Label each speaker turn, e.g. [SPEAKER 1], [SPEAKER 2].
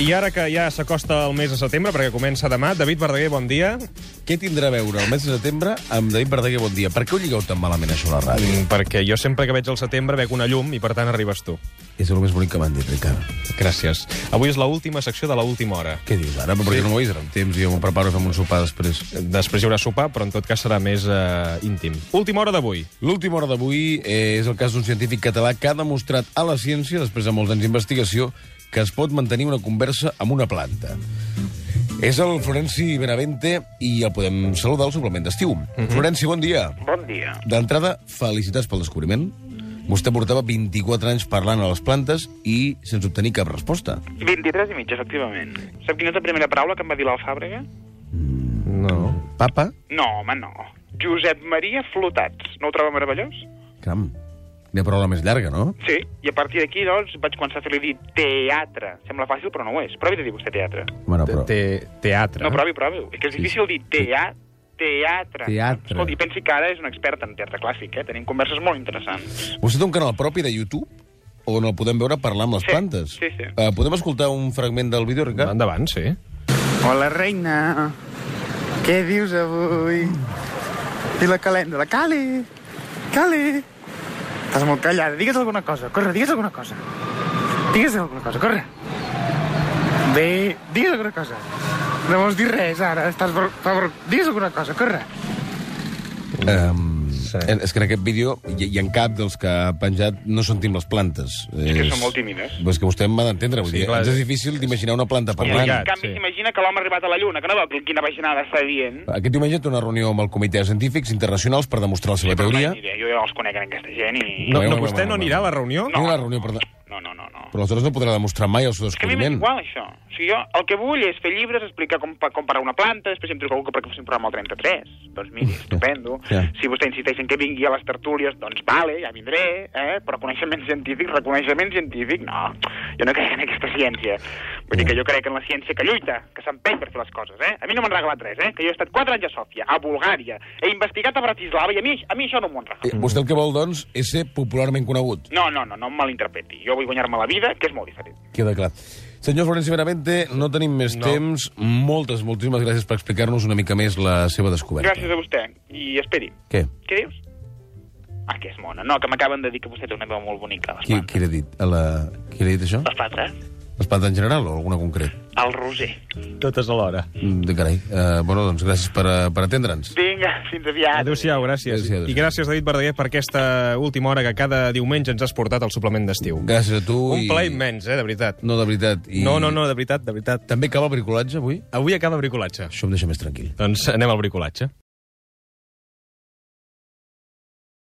[SPEAKER 1] I ara que ja s'acosta el mes de setembre, perquè comença demà, David Verdaguer, bon dia.
[SPEAKER 2] Què tindrà a veure el mes de setembre amb David Verdaguer Bon Dia? Per què ho lligueu tan malament, això, a la ràdio?
[SPEAKER 1] Mm, Perquè jo sempre que veig el setembre veig una llum i, per tant, arribes tu.
[SPEAKER 2] És el més bonic que m'han dit, Ricard.
[SPEAKER 1] Gràcies. Avui és l'última secció de l'última hora.
[SPEAKER 2] Què dius, ara? Però Per què no m'ho avises amb temps? Jo m'ho preparo i fem un sopar després.
[SPEAKER 1] Després hi haurà sopar, però en tot cas serà més eh, íntim. Última hora d'avui.
[SPEAKER 2] L'última hora d'avui eh, és el cas d'un científic català que ha demostrat a la ciència, després de molts anys d'investigació, que es pot mantenir una conversa amb una planta. És el Florenci Benavente i el podem saludar al suplement d'estiu. Florenci, bon dia.
[SPEAKER 3] Bon dia.
[SPEAKER 2] D'entrada, felicitats pel descobriment. Vostè portava 24 anys parlant a les plantes i sense obtenir cap resposta.
[SPEAKER 3] 23 i mig, efectivament. Sap quina és la primera paraula que em va dir l'Alfàbrega?
[SPEAKER 1] No.
[SPEAKER 2] Papa?
[SPEAKER 3] No, home, no. Josep Maria Flotats. No ho troba meravellós?
[SPEAKER 2] Cram. Quina paraula més llarga, no?
[SPEAKER 3] Sí. I a partir d'aquí, doncs, vaig començar a fer-li dir teatre. Sembla fàcil, però no ho és. Provi de dir vostè teatre.
[SPEAKER 2] Bueno, però...
[SPEAKER 1] Te teatre.
[SPEAKER 3] No, provi, provi. És que és difícil dir tea teatre.
[SPEAKER 2] Teatre.
[SPEAKER 3] Escolti, pensi que ara és un expert en teatre clàssic, eh? Tenim converses molt interessants.
[SPEAKER 2] Vostè té un canal propi de YouTube on el podem veure parlar amb les
[SPEAKER 3] Sí,
[SPEAKER 2] plantes.
[SPEAKER 3] sí, sí.
[SPEAKER 2] Eh, podem escoltar un fragment del vídeo, Ricard?
[SPEAKER 1] Endavant, sí.
[SPEAKER 4] Hola, reina. Què dius avui? I la calenda, la Cali. Cali. Estàs molt callada. Digues alguna cosa. Corre, digues alguna cosa. Digues alguna cosa, corre. Bé, digues alguna cosa. No vols dir res, ara. Estàs... Ver... ver- Digues alguna cosa, corre.
[SPEAKER 2] Um,
[SPEAKER 1] Sí.
[SPEAKER 2] eh, És que en aquest vídeo, i, i en cap dels que ha penjat, no sentim les plantes.
[SPEAKER 3] És que són molt tímides.
[SPEAKER 2] Però és que vostè m'ha d'entendre, vull
[SPEAKER 1] Sí,
[SPEAKER 2] dir,
[SPEAKER 1] clar.
[SPEAKER 2] ens és difícil d'imaginar una planta
[SPEAKER 3] I en
[SPEAKER 2] parlant.
[SPEAKER 1] Complicat.
[SPEAKER 3] canvi
[SPEAKER 1] sí.
[SPEAKER 3] s'imagina que l'home ha arribat a la Lluna, que no veu quina vaginada està dient.
[SPEAKER 2] Aquest diumenge té una reunió amb el Comitè de Científics Internacionals per demostrar la seva
[SPEAKER 3] Però no hi
[SPEAKER 2] teoria.
[SPEAKER 3] aniré, jo ja els conec, en aquesta gent, i...
[SPEAKER 1] No,
[SPEAKER 2] Bueno,
[SPEAKER 1] no
[SPEAKER 2] bueno,
[SPEAKER 1] vostè no
[SPEAKER 2] bueno,
[SPEAKER 1] anirà a la
[SPEAKER 2] bueno.
[SPEAKER 1] reunió?
[SPEAKER 2] No. Una reunió, perdó.
[SPEAKER 3] No, no, no, no.
[SPEAKER 2] Però aleshores no podrà demostrar mai el seu
[SPEAKER 3] És que a mi m'és
[SPEAKER 2] descobriment.
[SPEAKER 3] igual, això. O sigui, jo el que vull és fer llibres, explicar com, pa- com parar una planta, després em truca algú que perquè faci un programa al 33. Doncs miri, estupendo.
[SPEAKER 2] Ja.
[SPEAKER 3] Si vostè insisteix en que vingui a les tertúlies, doncs vale, ja vindré, eh? però coneixement científic, reconeixement científic, no. Jo no crec en aquesta ciència. Vull dir que jo crec en la ciència que lluita, que s'empeny per fer les coses, eh? A mi no m'han regalat res, eh? Que jo he estat 4 anys a Sòfia, a Bulgària, he investigat a Bratislava i a mi, a mi això no m'ho han regalat.
[SPEAKER 2] Eh, Vostè el que vol, doncs, és ser popularment conegut.
[SPEAKER 3] No, no, no, no em malinterpreti. Jo vull guanyar-me la vida, que és molt diferent.
[SPEAKER 2] Queda clar. Senyor Florenci Benavente, no tenim més
[SPEAKER 1] No.
[SPEAKER 2] temps. Moltes, moltíssimes gràcies per explicar-nos una mica més la seva descoberta.
[SPEAKER 3] Gràcies a vostè, i esperi.
[SPEAKER 2] Què?
[SPEAKER 3] Què dius? Ah, que és mona. No, que m'acaben de dir que vostè té una veu molt bonica. Les
[SPEAKER 2] Qui,
[SPEAKER 3] plantes.
[SPEAKER 2] qui l'ha dit? A la... Qui l'ha dit això?
[SPEAKER 3] Les plantes?
[SPEAKER 2] Les plantes en general o alguna concret?
[SPEAKER 3] El Roser.
[SPEAKER 1] Totes alhora.
[SPEAKER 2] Mm, De carai. Uh, bueno, doncs gràcies per, eh, per atendre'ns.
[SPEAKER 3] Vinga, fins aviat.
[SPEAKER 1] Adéu-siau, gràcies.
[SPEAKER 2] Adéu-siau, adéu-siau.
[SPEAKER 1] I gràcies, David Verdaguer, per aquesta última hora que cada diumenge ens has portat al suplement d'estiu.
[SPEAKER 2] Gràcies a tu.
[SPEAKER 1] Un
[SPEAKER 2] i...
[SPEAKER 1] plaer immens, eh, de veritat.
[SPEAKER 2] No, de veritat. I...
[SPEAKER 1] No, no, no, de veritat, de veritat.
[SPEAKER 2] També acaba el bricolatge, avui?
[SPEAKER 1] Avui acaba bricolatge.
[SPEAKER 2] Això em deixa més tranquil.
[SPEAKER 1] Doncs anem al bricolatge.